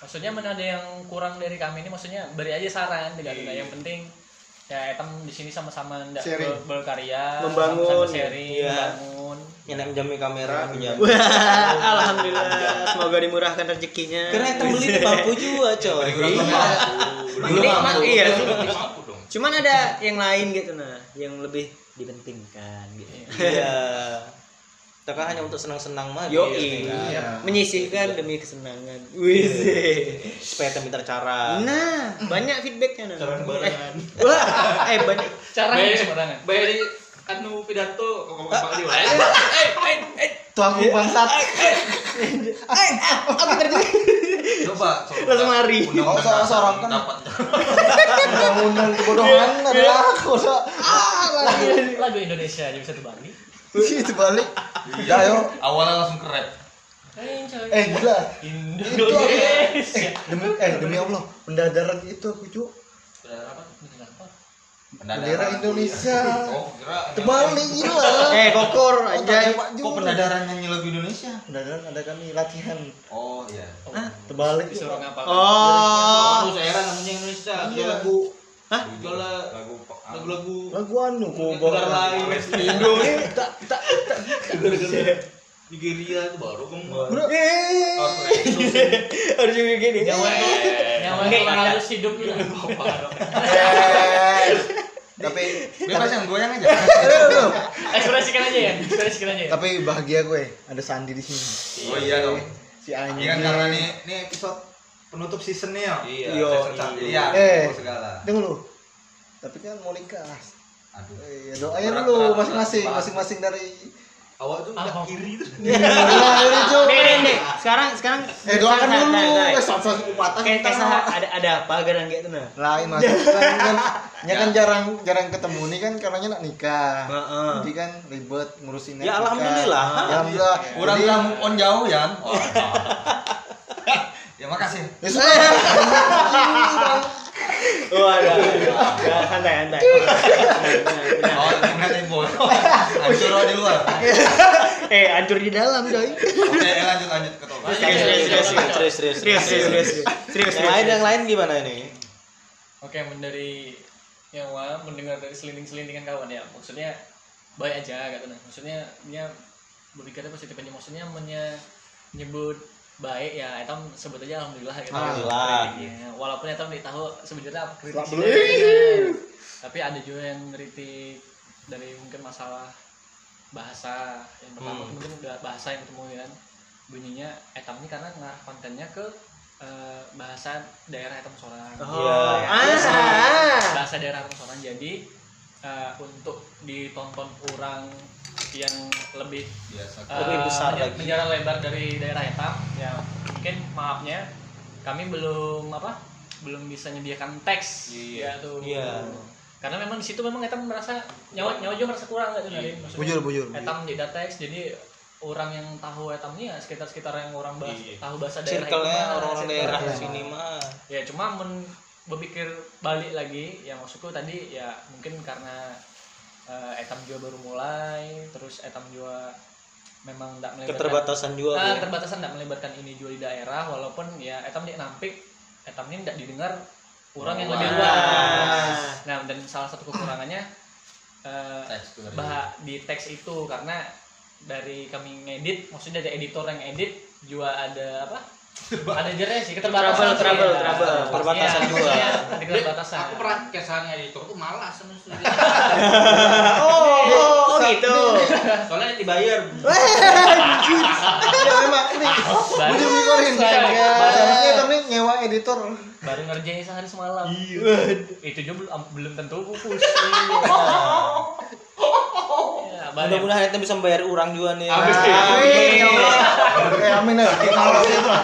S4: maksudnya mana ada yang kurang dari kami ini maksudnya beri aja saran tidak tidak
S1: Iya.
S4: yang penting ya etam di sini sama-sama ndak
S7: Sharing.
S4: ber- berkarya
S1: Membangun,
S4: sama-sama sharing
S1: iya.
S4: membangun
S1: Yang menjamin kamera, menjamin.
S3: Alhamdulillah, semoga dimurahkan rezekinya.
S1: Karena yang beli di bangku juga, coy.
S5: Belum
S3: Ini
S5: mampu.
S3: emang iya.
S2: Mampu dong.
S3: Cuman ada yang lain gitu nah, yang lebih dipentingkan gitu.
S1: Iya. Kita kan hanya untuk senang-senang mah.
S3: Yoi.
S1: gitu, kan?
S7: iya
S3: Menyisihkan demi kesenangan. Wih.
S1: Supaya kita pintar cara.
S3: Nah,
S6: Hmm.
S3: banyak feedbacknya nah.
S2: Saran barengan.
S3: Wah, eh banyak.
S4: cara
S2: Baik.
S4: ini sembarangan
S2: Bayar di anu pidato kok ngomong Pak Liwa.
S7: tuang bangsat
S5: coba coba.
S3: Langsung lari.
S5: Undang-undang
S7: Oh, salah seorang kan.
S5: dapat
S7: undang-undang kebodohan adalah aku so-
S4: lagu Indonesia aja bisa terbalik
S7: Ih, terbalik
S5: Iya,
S7: ya ayo
S5: awalnya langsung ke rap
S7: eh gila
S4: Indonesia
S7: demi eh demi Allah pendadaran itu aku cu
S2: Benar apa?
S4: Bener apa?
S6: Bendera Indonesia.
S2: Oh, gerak.
S6: Tebal nih gila.
S3: eh kokor
S6: Anjay,
S3: anjay
S6: Pak Ju.
S5: Kok pendadarannya lagu Indonesia?
S6: Pendadaran kan, ada kami latihan.
S2: Oh, iya.
S6: Terbalik
S4: disuruh ngapal
S2: Oh,
S3: oh
S2: saya heran namanya Indonesia.
S6: Iya.
S2: Lagu
S3: Hah?
S2: Jola-
S5: Lagu Pak-
S2: lagu-lagu
S6: Lagu anu kok
S2: negara lain. Indo.
S6: Tak tak
S2: Negara-negara Nigeria itu baru kemana.
S6: Bro.
S2: Oh, Indonesia.
S3: harus juga gini
S4: nyawa itu nyawa itu harus hidup juga
S6: Eh, Tapi
S5: Bebas yang goyang aja.
S6: Aduh, aduh.
S4: ekspresikan aja ya ekspresikan aja ya
S6: tapi bahagia gue ada Sandi di sini.
S5: Oh iya dong.
S6: Si anjing.
S5: Ini kan karena nih ini episode penutup season nih ya.
S2: Iya,
S6: Yo,
S2: saya search.
S5: Jadi ya,
S6: Eh.
S5: kumpul segala.
S6: Tunggu lu. Tapi kan mau nikah.
S5: Aduh.
S6: Eh,
S3: Iya.
S6: doain
S5: Berat, berat,
S6: dulu
S5: berat,
S6: masing-masing,
S5: berat.
S6: masing-masing dari
S2: Awak tuh nggak
S4: Apa?
S2: kiri tuh.
S6: Iya, Gila, ini, Cuk.
S3: Nih, nih, nih. Sekarang, sekarang.
S6: iya. Eh, doakan
S3: Nah,
S6: dulu.
S3: nah, nah.
S6: Eh, satu-satu kupatah.
S3: Kayak kayak
S5: kan,
S3: saha- ada ada apa garang gitu nah.
S6: lain mas kan, kan, ya kan jarang jarang ketemu nih kan karenanya nak nikah
S3: Heeh.
S6: jadi kan ribet ngurusin
S8: Ya,
S6: nikah.
S8: alhamdulillah.
S6: alhamdulillah
S5: Kurang
S6: Jadi-
S5: lah move on jauh ya. ya makasih.
S6: Ya, sudah.
S3: Wah, ada. Ya, santai, santai. Nah, nah,
S5: Oh, ngeliat info. Hancur di luar.
S3: nah. Eh, hancur di dalam, doi.
S5: Oke, lanjut lanjut ke topik.
S8: Serius, serius, serius, serius, serius,
S3: Serius, serius, serius. Serius,
S8: Yang lain, yang lain gimana ini?
S4: oke mendari nyawa mendengar dari selinting selintingan kawan ya maksudnya baik aja katanya maksudnya dia berbicara positif aja maksudnya menye- menyebut baik ya etam sebut aja alhamdulillah gitu
S8: Alhamdulillah.
S4: Kritiknya. walaupun etam tidak tahu sebenarnya apa kritiknya
S6: Selamat
S4: ya. tapi ada juga yang kritik dari mungkin masalah bahasa yang pertama itu mungkin udah bahasa yang ditemui kan bunyinya etam ini karena ngarah kontennya ke eh, bahasa daerah etam seorang
S1: Oh,
S8: Iya.
S3: Ah.
S4: bahasa daerah orang jadi eh, untuk ditonton orang yang lebih
S5: Biasa.
S4: eh,
S8: Lebih besar
S4: menye-
S8: lagi.
S4: menjara lebar dari daerah Etam ya mungkin maafnya kami belum apa belum bisa menyediakan teks
S2: Iya.
S4: ya tuh
S8: Iya.
S4: karena memang di situ memang Etam merasa nyawa nyawa juga merasa kurang gitu Narin. Maksudnya,
S6: bujur bujur
S4: Etam tidak teks jadi orang yang tahu Etam ini ya sekitar-sekitar yang orang bahas,
S2: Iya.
S4: tahu bahasa daerah itu
S8: Circle-nya
S4: mah,
S8: orang-orang
S4: circle.
S8: daerah sini mah.
S4: ya cuma men berpikir balik lagi ya maksudku tadi ya mungkin karena eh, etam juga baru mulai terus etam juga memang tidak melebarkan
S8: Keterbatasan
S4: Ah,
S8: juga. Bu. Oh,
S4: keterbatasan tidak melebarkan ini juga di daerah walaupun ya etam dia nampik etam ini tidak didengar orang yang lebih luas nah dan salah satu kekurangannya eh, bah di teks itu karena dari kami ngedit maksudnya dari editor yang edit juga ada apa ada jernya sih keterbatasan
S3: Trouble,
S4: sih,
S3: trouble,
S4: ya. Iya,
S3: trouble.
S8: Keterbatasan juga.
S4: maksudnya ada keterbatasan
S2: Aku pernah kesannya editor tuh malas sama sekali.
S3: Oh, oh, oh gitu.
S2: Soalnya dibayar.
S8: Eh,
S6: ya memang ini
S4: baru
S6: bujur bikurin
S4: Sayang.
S6: seharusnya kami nyewa editor
S4: baru ngerjain sehari semalam itu juga belum belum tentu pupus ya, banyak
S8: Mudah-mudahan itu bisa membayar orang juga nih.
S2: Amin.
S6: amin ya Allah eh amin ya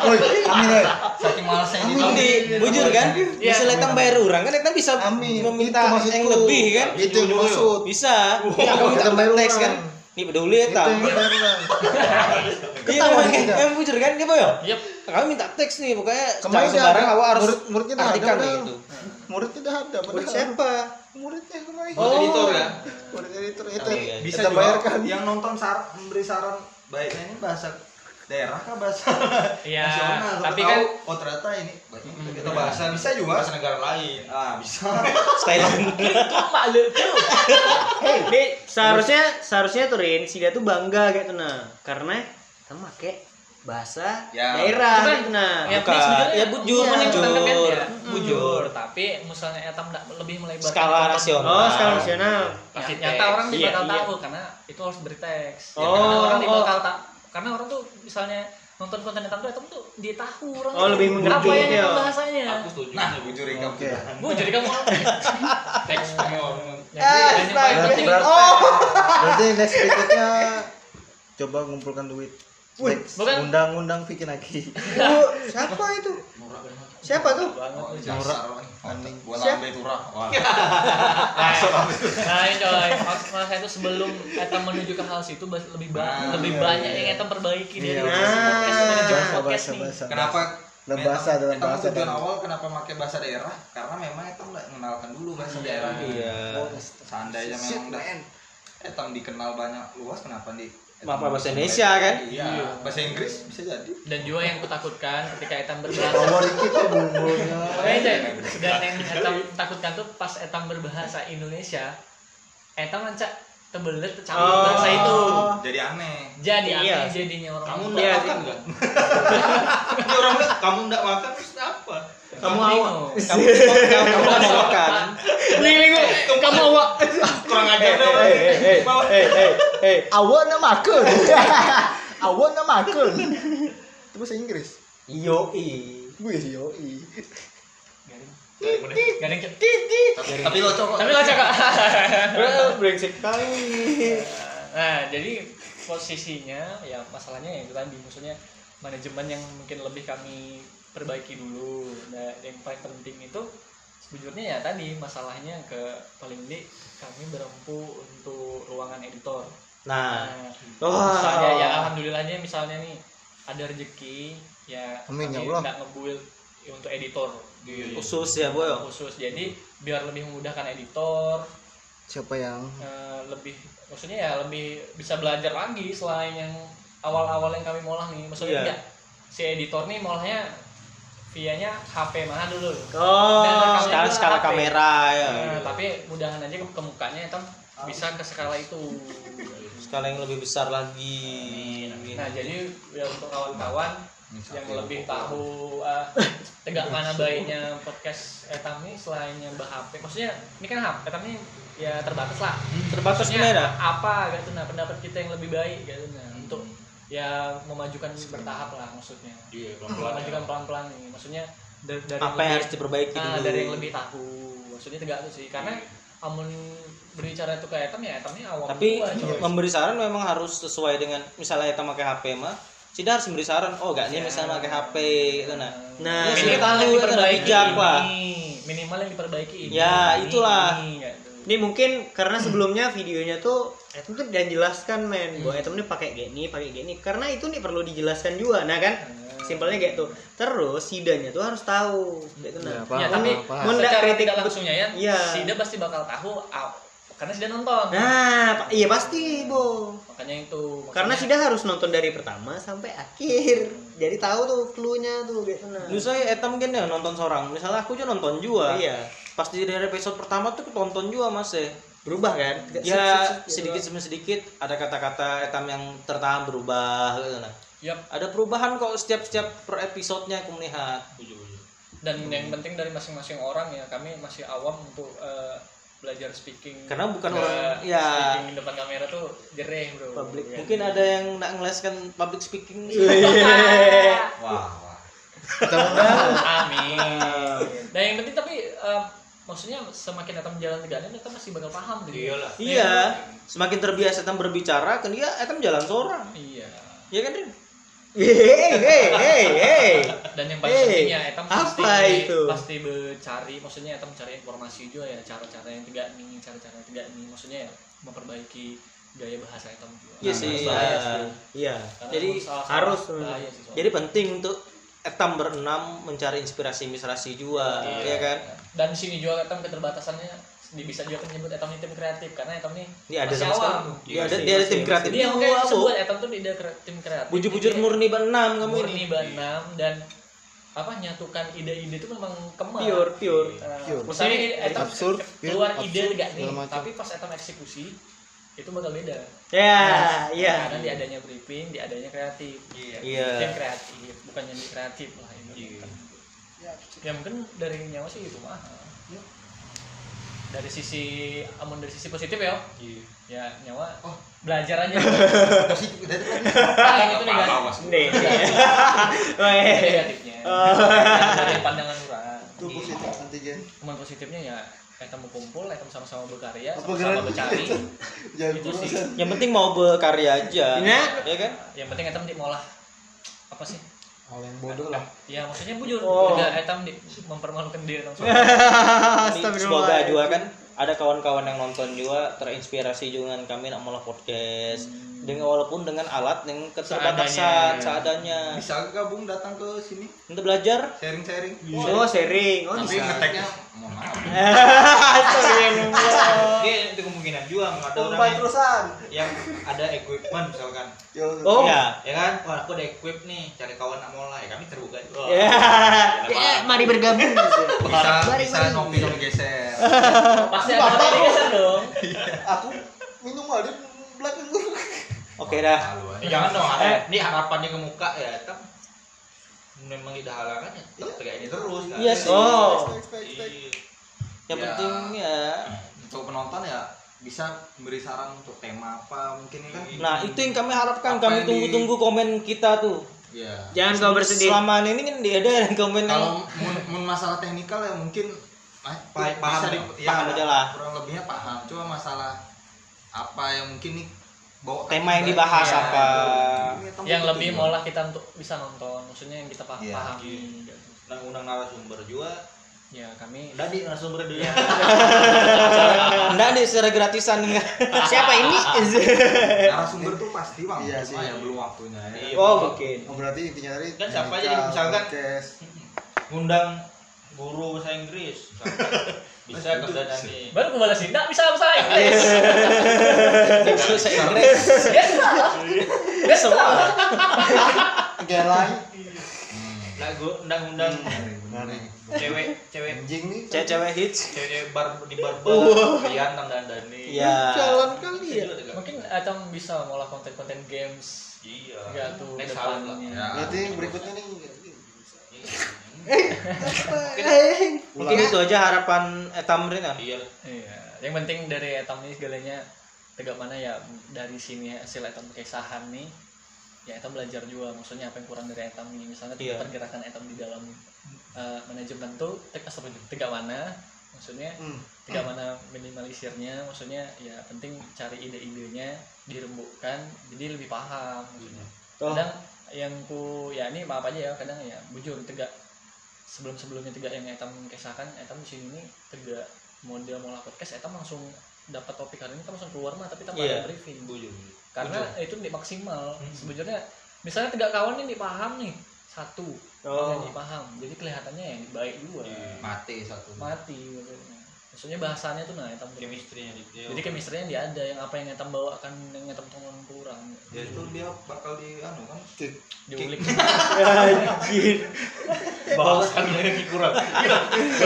S6: Woi, amin ya
S5: Saking malasnya ini.
S8: Kan di bujur kan?
S4: Iya.
S8: Bisa letang bayar orang kan kita bisa
S6: amin
S8: meminta yang lebih kan?
S6: itu yang dimaksud
S8: Bisa.
S6: Iya,
S8: Kamu minta
S6: kita bayar
S8: teks
S6: orang.
S8: kan? Ini peduli
S6: itu
S8: ya
S6: yang dimaksud
S8: Iya,
S6: Ketawa
S8: emang-
S6: kita.
S8: emang bujur kan dia boyo?
S4: Yep.
S8: Kami minta teks nih pokoknya
S6: kemarin
S8: jangan sembarang awak harus
S6: murid muridnya dah ada
S8: artikan nih
S6: padahal.
S8: gitu.
S6: muridnya dah ada
S8: Murid
S6: padahal.
S8: siapa?
S6: muridnya kemarin
S2: Oh, editor ya.
S6: murid editor itu
S8: Iya, iya.
S5: bisa
S6: kita
S5: juga
S6: bayarkan
S5: yang nonton sar memberi saran baiknya ini bahasa daerah kah bahasa
S4: ya
S5: nasional Siapa
S4: tapi
S5: tahu,
S4: kan
S5: oh ternyata ini baiknya kita, kita
S2: Itu
S5: bahasa
S2: bahasa
S5: bisa juga
S2: bahasa negara lain.
S5: ah bisa
S8: iya. Thailand.
S4: cuma lu tuh
S3: Nih, Eh, seharusnya seharusnya tuh Rin, si dia tuh bangga gitu nah. Karena kita make bahasa
S5: Ya.
S3: daerah
S4: Bukan.
S3: gitu nah.
S4: ya
S8: Bukan.
S4: sebenarnya
S8: Ya, bujur,
S4: iya,
S8: bujur.
S4: tetap kan ya.
S8: Mm.
S4: bujur tapi misalnya etam nggak lebih melebar
S8: Skala rasional.
S3: Oh, skala nasional.
S4: Pasti
S8: Pasti
S4: Ya, nyata
S8: teks.
S4: orang
S3: Iya,
S4: tidak bakal
S3: iya.
S4: tahu karena itu harus beri teks. Ya,
S3: Oh,
S4: karena orang tidak
S3: oh.
S4: bakal tahu. Karena orang tuh misalnya nonton konten Etam tuh Etam tuh dia tahu orang.
S3: Oh,
S4: tuh
S3: lebih
S4: Apa
S3: mengerti,
S4: yang
S3: iya.
S4: itu bahasanya?
S2: Aku setuju.
S5: nah bujur rekam
S6: Oke.
S5: kita
S4: Bu jadi kamu
S2: teks pakai orang.
S3: Eh,
S4: Jadi, yang paling
S6: Berarti,
S4: penting-
S6: berarti,
S3: Oh.
S6: berarti next berikutnya coba ngumpulkan duit. Next,
S4: bukan.
S6: undang-undang bikin lagi.
S3: siapa itu? Siapa tuh?
S5: Oh,
S4: Banget.
S5: dasar orang.
S6: Anjing.
S5: Gua lambe turah. Wah.
S4: Nah, itu coy. Maksud maksud saya itu sebelum Etam menuju ke hal situ bas- lebih banyak
S5: Ah,
S4: lebih
S6: iya,
S4: banyak
S6: iya.
S4: yang Etam perbaiki dari
S6: Iya,
S4: podcast manajemen
S6: Bahasa,
S4: podcast
S6: bahasa,
S4: nih.
S6: bahasa.
S5: Kenapa
S9: dalam bahasa dalam
S5: Etam
S9: bahasa
S5: tujuan
S9: dalam-
S5: awal kenapa pakai bahasa daerah karena memang Etam nggak mengenalkan dulu bahasa daerah
S10: Iya.
S6: Oh,
S5: seandainya
S9: Shit,
S5: memang dah
S9: man.
S5: Etam dikenal banyak luas kenapa di
S1: Apa bahasa Indonesia, kan?
S5: iya bahasa Inggris bisa jadi
S4: dan juga yang kutakutkan ketika etam berbahasa
S9: Nomor dikit tuh bumbunya.
S4: Eh, Jay, dan yang etam takutkan tuh pas etam berbahasa Indonesia etam lancar tebelet tercampur
S1: Oh.
S4: bahasa itu
S5: jadi aneh
S4: jadi
S1: Iya.
S4: aneh jadinya orang
S2: Kamu
S4: Papua.
S2: enggak makan enggak? Ini orang bilang, kamu enggak makan terus apa?
S4: kamu awak
S1: Kamu kan mau makan. Nih, gue, kamu awak.
S2: Kurang ajar dong.
S1: Hei, hei, hei, hei.
S9: Awak nak makan. Awak nak makan. Itu bahasa Inggris.
S1: Yo,
S9: Gue sih yoi.
S2: eh,
S4: garing cek.
S5: tapi lo cowok
S4: tapi lo cakap
S3: Eh,
S1: Brengsek kali.
S4: nah jadi posisinya ya masalahnya ya itu tadi maksudnya manajemen yang mungkin lebih kami perbaiki dulu nah, yang paling penting itu sejujurnya ya tadi masalahnya ke paling di kami berempu untuk ruangan editor
S1: Nah,
S4: nah,
S9: Ah.
S1: Wah.
S4: misalnya ya alhamdulillahnya misalnya nih ada rezeki ya
S9: Amin, ya
S4: kami
S9: Allah.
S4: nggak ngebuil untuk editor
S1: khusus ya, Boy.
S4: khusus jadi biar lebih memudahkan editor
S9: Siapa yang
S4: eh, lebih maksudnya ya lebih bisa belajar lagi selain yang awal-awal yang kami molah nih maksudnya
S1: Iya.
S4: enggak, si editor nih molahnya via-nya HP mana dulu
S1: Oh,
S4: rekamnya
S1: sekarang
S4: juga
S1: skala
S4: HP.
S1: kamera ya.
S4: Nah, tapi mudahan aja ke, ke mukanya itu bisa ke skala itu
S1: Skala yang lebih besar lagi.
S4: nah jadi ya untuk kawan-kawan yang lebih tahu eh, tegak mana baiknya podcast etam nih selain yang HP maksudnya ini kan HP etam nih ya terbatas lah
S1: Nah, Terbatas
S4: Maksudnya
S1: sebenarnya.
S4: apa gitu nah pendapat kita yang lebih baik gitu nah untuk ya memajukan bertahap lah maksudnya
S2: Iya,
S4: memajukan pelan-pelan kan. nih maksudnya dari, dari
S1: Apa yang harus diperbaiki
S4: nah,
S1: dulu?
S4: dari yang lebih tahu maksudnya tegak tuh sih karena amun berbicara itu ke etam ya etamnya awam
S1: tapi
S4: tua, coy.
S1: memberi saran memang harus sesuai dengan misalnya kita pakai HP mah Cida harus memberi saran oh gak nih
S4: Iya.
S1: misalnya pakai HP gitu nah Ya,
S3: Nah,
S4: minimal
S1: sedikit tahu
S4: yang
S1: itu udah
S4: diperbaiki
S1: bijak lah
S4: ini minimal yang diperbaiki ini
S1: Ya,
S4: ini,
S1: itulah.
S4: ini, gitu.
S3: Ini mungkin karena sebelumnya videonya tuh Etem tuh dan jelaskan men bahwa Etem nih pakai gini, pakai gini karena itu nih perlu dijelaskan juga. Nah kan simpelnya kayak tuh. Terus sidanya tuh harus tahu gitu nah.
S4: ya tapi
S9: paham.
S4: secara
S3: Mendak-
S4: tidak langsungnya ya
S3: Iya.
S4: Sida pasti bakal tahu ah, karena Sida nonton
S3: Nah, pa- iya pasti, Bo.
S4: makanya itu
S3: Karena
S4: maksudnya-
S3: Sida harus nonton dari pertama sampai akhir. Jadi tahu tuh clue-nya tuh gitu nah.
S1: Dulu saya etam kan ya nonton seorang misalnya aku juga nonton juga
S3: Iya.
S1: pasti dari episode pertama tuh tonton juga mas ya
S3: Berubah kan?
S1: ya sedikit demi sedikit ada kata-kata etam yang tertahan berubah gitu nah
S4: Yap.
S1: ada perubahan kok setiap setiap per episodenya aku melihat
S4: dan yang penting dari masing-masing orang ya kami masih awam untuk eh, belajar speaking
S1: karena bukan
S4: Ke-
S1: orang ya
S4: speaking depan kamera tuh jereh bro
S1: public
S3: Iya.
S4: Kan.
S1: mungkin ada yang nak ngeleskan public speaking
S5: wah wah
S4: amin dan yang penting tapi eh, maksudnya semakin datang jalan tegaknya kita masih bakal paham gitu
S2: Iyalah.
S1: Iya, semakin terbiasa Etam berbicara, kan dia Etam jalan seorang.
S4: iya
S1: Iya kan, Rin?
S3: Hei, hei, hei, hei.
S4: dan yang
S1: Eh,
S4: paling
S3: Hey,
S4: penting ya etam pasti
S3: apa itu?
S4: pasti mencari maksudnya etam cari informasi juga ya cara-cara yang tegak nih cara-cara yang tegak nih maksudnya ya memperbaiki gaya bahasa etam juga
S3: Nah,
S1: Iya sih. iya.
S4: bahasa ya sih.
S3: Iya.
S4: Karena
S1: Jadi
S4: salah-salah
S3: harus,
S4: bahaya sih soalnya.
S1: Jadi penting untuk Etam berenam mencari inspirasi inspirasi juga, iya kan?
S4: dan di sini juga Etam keterbatasannya di- bisa juga kan nyebut Etam ini tim kreatif karena Etam nih
S1: Dia ada
S4: masih Iya,
S1: sama
S4: awam.
S1: sekali. Dia ada dia ada tim kreatif.
S4: Dia yang kayak
S1: Wow.
S4: sebut Etam tuh tidak kre- tim kreatif.
S1: Bujur-bujur
S4: Jadi,
S1: murni berenam kamu ini.
S4: Iya. murni banam dan apa nyatukan ide-ide itu memang kemar.
S3: Pure, pure.
S4: Nah,
S9: Pure.
S4: Misalnya Etam
S9: Absurd,
S4: keluar
S9: pure,
S4: ide
S9: absurd,
S4: enggak nih,
S9: segala macam.
S4: tapi pas Etam eksekusi itu bakal beda.
S3: Ya, iya.
S4: Karena di adanya briefing, di adanya kreatif.
S1: Iya.
S4: Tim kreatif, bukan yang di kreatif lah ini.
S2: Iya.
S4: Ya mungkin dari nyawa sih itu mah. Dari sisi amun dari sisi positif ya.
S2: Iya.
S4: Ya nyawa belajar aja.
S5: positif dari tadi
S4: Ah, itu negatif.
S2: Apa-apa, Mas.
S3: Nih,
S4: iya,
S3: nih.
S4: Itu
S3: Weh.
S4: negatifnya. iya, Dari pandangan orang.
S9: Itu positif antigen.
S4: Cuman positifnya ya kita mau kumpul, kita sama-sama berkarya,
S9: Apa
S4: sama-sama
S9: gerak?
S4: bercari.
S9: Jangan
S4: Itu
S9: kurang,
S4: sih.
S9: San.
S1: Yang penting mau berkarya aja.
S3: Nah.
S1: Iya kan?
S4: Yang penting kita mau lah apa sih?
S9: Hal yang bodoh lah.
S4: Ya maksudnya bujur,
S3: Oh.
S9: Gitu.
S4: tidak kita mempermalukan diri langsung.
S1: Ini Semoga juga kan ada kawan-kawan yang nonton juga terinspirasi juga dengan kami nak malah podcast dengan walaupun dengan alat yang keterbatasan
S4: Hmm. Seadanya.
S1: seadanya,
S5: bisa gabung datang ke sini
S1: untuk belajar
S5: sharing-sharing
S3: Oh, sharing. Oh,
S5: tapi ngeteknya mohon maaf
S4: Iya.
S1: Astagfirullah.
S2: Oke, itu kemungkinan juga ada orang
S11: Umpai
S2: yang-
S11: terusan.
S2: yang ada equipment misalkan
S11: Yo.
S1: Oh,
S3: Iya.
S4: Iya.
S2: ya kan wah aku ada equip nih cari kawan nak mola ya kami terbuka juga
S1: Ya.
S2: Jangan
S3: Ya,
S2: apa-apa.
S3: mari bergabung.
S5: bisa
S3: Mari,
S5: bisa
S3: mari.
S5: nopi sama geser
S4: Pasti ada tempat geser Iya, dong.
S11: aku minum aja di belakang gue.
S1: Oke dah.
S2: Eh, jangan dong eh, ini harapannya ke muka ya tetap memang tidak halangan ya tetap kayak ini terus kan
S1: Iya sih.
S11: Oh.
S2: Iya.
S1: Yang
S5: Ya.
S1: penting ya.
S5: untuk penonton ya bisa memberi saran untuk tema apa mungkin ya kan
S1: Nah, itu yang kami harapkan.
S5: Apa
S1: Kami
S5: yang di-
S1: tunggu-tunggu komen kita tuh.
S5: ya
S3: Jangan kau bersedih.
S1: Selama ini kan tidak ada yang komen yang
S5: kalau mun- mun masalah teknikal ya mungkin eh,
S2: Pa-
S5: bisa
S2: paham
S5: di- ya,
S1: Paham aja lah.
S5: kurang lebihnya paham cuma masalah apa yang mungkin nih bawa Iya,
S1: Tema yang dibahas apa.
S4: Yang lebih molah kita untuk bisa nonton, maksudnya yang kita paham.
S5: Iya.
S4: pahami.
S9: Gitu.
S2: nah undang narasumber juga
S4: Ya, kami
S2: udah di narasumber dulu
S1: Enggak deh secara gratisan enggak.
S3: Siapa ini?
S5: narasumber tuh pasti bang
S11: Iya
S5: cuma
S11: sih.
S5: ya belum waktunya ya
S2: Iya.
S1: Oh, mungkin.
S11: Oh, berarti intinya tadi
S2: Kan siapa
S11: teknikal,
S2: aja, misalkan-
S11: podcast.
S2: undang guru bahasa Inggris bisa kerja nanti
S4: baru kembali sini. Nggak bisa bahasa
S9: Iya.
S4: Inggris.
S1: Terus saya Inggris.
S4: Yes, lah. Yes, lah.
S11: Gelai.
S2: Nah, gua undang-undang
S11: Benar nih.
S2: cewek cewek
S11: Anjing nih.
S1: Cewek-cewek hits.
S2: cewek bar di barbar Rian dan Dani.
S1: Iya.
S11: Jalan kali ya.
S2: Iya.
S4: Mungkin Atam bisa ngolah konten-konten games
S2: Iya.
S4: Iya tuh,
S2: Next
S4: depannya.
S2: salam lah.
S5: Ya.
S11: Berarti berikutnya nih.
S3: Eh,
S1: Mungkin itu aja harapan eh, Tamrin ya.
S2: Iya.
S4: Iya, yang penting dari Etam ini segalanya tegak mana ya dari sini hasil Etam kekisahan nih ya Etam belajar juga maksudnya apa yang kurang dari Etam ini misalnya
S1: Iya.
S4: pergerakan Etam di dalam eh, manajemen tuh tegak tegak mana maksudnya
S11: Hmm.
S4: tegak mana minimalisirnya maksudnya ya penting cari ide-idenya dirembukkan jadi lebih paham maksudnya
S1: Toh.
S4: kadang yang ku ya ini maaf aja ya kadang ya bujur tegak sebelum sebelumnya tegak yang etam kisahkan etam di sini ini tegak model mau podcast etam langsung dapat topik hari ini kita langsung keluar mah tapi tanpa
S1: Iya. Hmm.
S4: ada briefing
S2: Bujur.
S4: karena itu tidak maksimal sebenarnya misalnya tegak kawan ini paham nih satu
S1: Oh. Iya.
S4: yang dipaham jadi kelihatannya yang baik dua
S5: mati satu
S4: mati gitu. maksudnya bahasanya tuh nah etam
S2: Chemistry-nya di dia.
S4: jadi kemistrinya dia ada yang apa yang etam bawa akan yang etam temukan kurang
S5: ya itu dia bakal di anu kan
S4: diulik
S1: Anjir.
S2: bahas kan lagi kurang. Iya.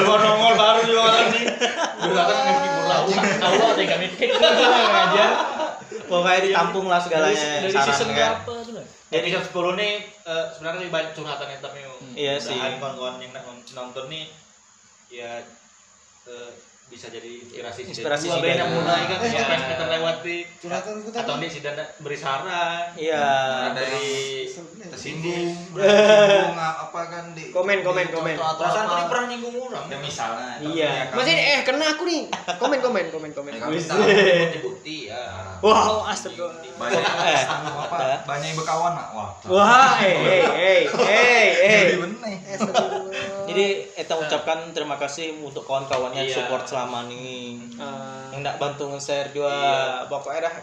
S2: Baru nongol baru juga kan, orang nih. Udah kan lagi kurang.
S4: Allah ada yang mikir aja
S1: Pokoknya ditampung lah
S4: dari,
S1: segalanya
S4: dari
S1: saran
S4: season
S1: kan.
S4: berapa tuh lah
S2: Jadi episode 10 nih eh, sebenarnya lebih banyak curhatan yang tapi
S1: Iya sih.
S2: mudahan kawan-kawan yang nonton nih ya eh, bisa jadi inspirasi
S1: Inspirasi
S2: Dua
S1: si
S2: band
S1: Dana.
S2: yang mulai
S5: Iya.
S2: kan
S11: Eh,
S2: ya,
S4: tapi-
S2: kita terlewati
S11: Curhatan gue tadi.
S2: atau nih si Dana beri saran Nah,
S1: Iya.
S5: ada yang
S2: dari
S5: tersinggung tersinggung apa kan di
S3: Komen, komen,
S5: di
S3: komen.
S5: contoh atau
S2: perasaan
S5: apa.
S2: tadi pernah nyinggung orang
S5: ya misalnya
S1: Iya.
S3: Masih eh kena aku nih. Komen komen komen komen.
S5: kami tahu
S2: bukti-bukti ya
S1: Oh,
S3: Wah, Oh, astagfirullah.
S5: banyak
S1: Eh,
S5: apa
S1: ada.
S5: banyak yang berkawan nak wah
S3: Wah, eh eh eh eh eh.
S5: jadi bener
S1: Jadi
S4: Eh,
S1: Eta ucapkan terima kasih untuk kawan-kawannya
S2: Iya.
S1: support selama ini.
S4: Eh.
S3: Ah,
S1: Yang enggak bantu nge-share juga. Pokoknya dah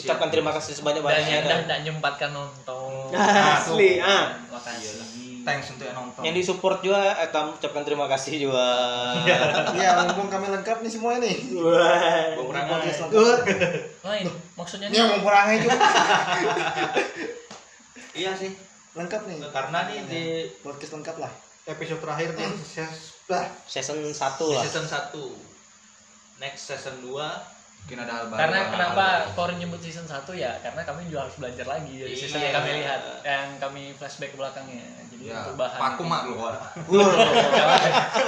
S1: ucapkan terima kasih
S4: Iya. dan yang
S1: sebanyak-banyaknya. dah.
S4: dan tidak nyempatkan nonton
S3: Asli ah.
S1: Iya
S4: makasih
S5: thanks untuk yang nonton
S1: Yang di support juga Eta ucapkan terima kasih juga.
S11: Iya, mumpung kami lengkap nih semua nih.
S1: Wah.
S2: Bung Rama
S11: Podcast lengkap.
S1: Wah.
S4: lain maksudnya
S11: Ini yang
S4: nih
S11: mengurangnya juga
S2: iya sih
S11: lengkap nih.
S2: karena nih di
S11: podcast lengkap lah.
S5: episode terakhir nih saya
S11: Lah,
S1: Season 1 lah.
S2: season 1 next season 2
S5: mungkin ada hal baru
S4: karena
S5: Hal
S4: kenapa
S5: baru.
S4: Korin nyebut season 1 ya karena kami juga harus belajar lagi dari season
S2: Iya.
S4: yang kami lihat yang kami flashback ke belakangnya jadi
S1: Iya.
S5: ya
S4: untuk bahan
S5: paku mak lu wah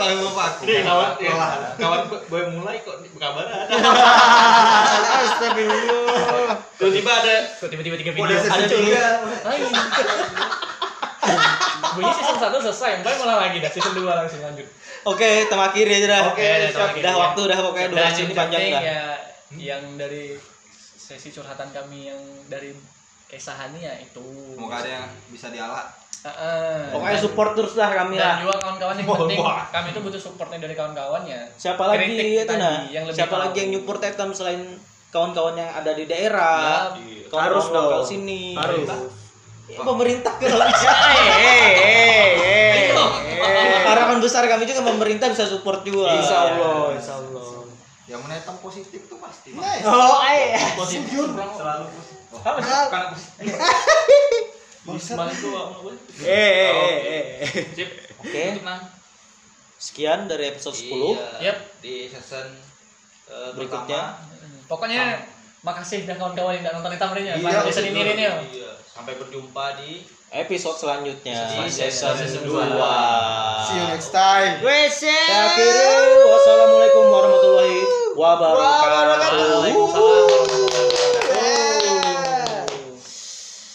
S5: paku paku
S2: Nih, kawan
S4: Oh, iya.
S2: ya,
S5: Lelah.
S2: kawan boleh mulai kok berkabaran
S4: iya.
S11: astagfirullah.
S2: tiba-tiba ada
S4: Kok tiba-tiba tiga
S5: Udah
S4: video
S5: season tiga.
S4: iya. lain bunyi season 1 selesai yang paling malah lagi dah season 2 langsung lanjut
S1: Oke, tema akhir ya dah.
S4: Oke, tema akhir,
S1: dah
S4: ya.
S1: waktu dah pokoknya
S4: Dan
S1: durasi ini
S4: yang
S1: panjang
S4: penting
S1: dah. Hmm?
S4: ya yang dari sesi curhatan kami yang dari kesahannya ya itu
S5: semoga ada yang bisa dialah
S4: Eh, Heeh.
S1: Pokoknya support terus lah kami
S4: dan
S1: lah.
S4: juga kawan-kawan yang
S1: Wah,
S4: penting
S1: wah.
S4: kami itu butuh supportnya dari kawan-kawan ya
S1: Siapa lagi
S4: Kritik
S1: itu
S4: tadi
S1: nah?
S4: yang lebih
S1: Siapa
S4: tahu. Ya.
S1: lagi yang nyupport Etam selain kawan-kawan yang ada di daerah?
S2: Iya.
S1: Kawan-kawan
S8: Harus dong.
S1: lokal sini.
S8: Harus.
S1: Ya, pemerintah kalau bisa. Harapan besar kami juga pemerintah bisa support juga. Iya.
S8: Insya Allah, insya Allah.
S5: yang menetam positif tuh pasti
S4: Iya,
S8: Oh, eh.
S4: positif
S5: selalu positif
S4: Bukan
S6: Bangsat.
S4: balik tuh nggak boleh.
S8: Eh, eh, eh, eh.
S4: sip
S1: Oke,
S2: Itu, Mang.
S1: sekian dari episode 10.
S2: Iya.
S4: Yep.
S2: Di season eh,
S1: Berikutnya.
S2: pertama.
S4: pokoknya makasih dah kawan-kawan yang udah nonton hitam ini ya
S6: Iya,
S4: season ini ini ya
S2: Iya. Sampai berjumpa di
S1: Episode selanjutnya
S2: Di
S1: season
S2: season
S1: 2.
S2: dua.
S6: see you next time
S8: Wes, eh.
S1: Saya Akhiru. Wassalamualaikum warahmatullahi
S3: Oh.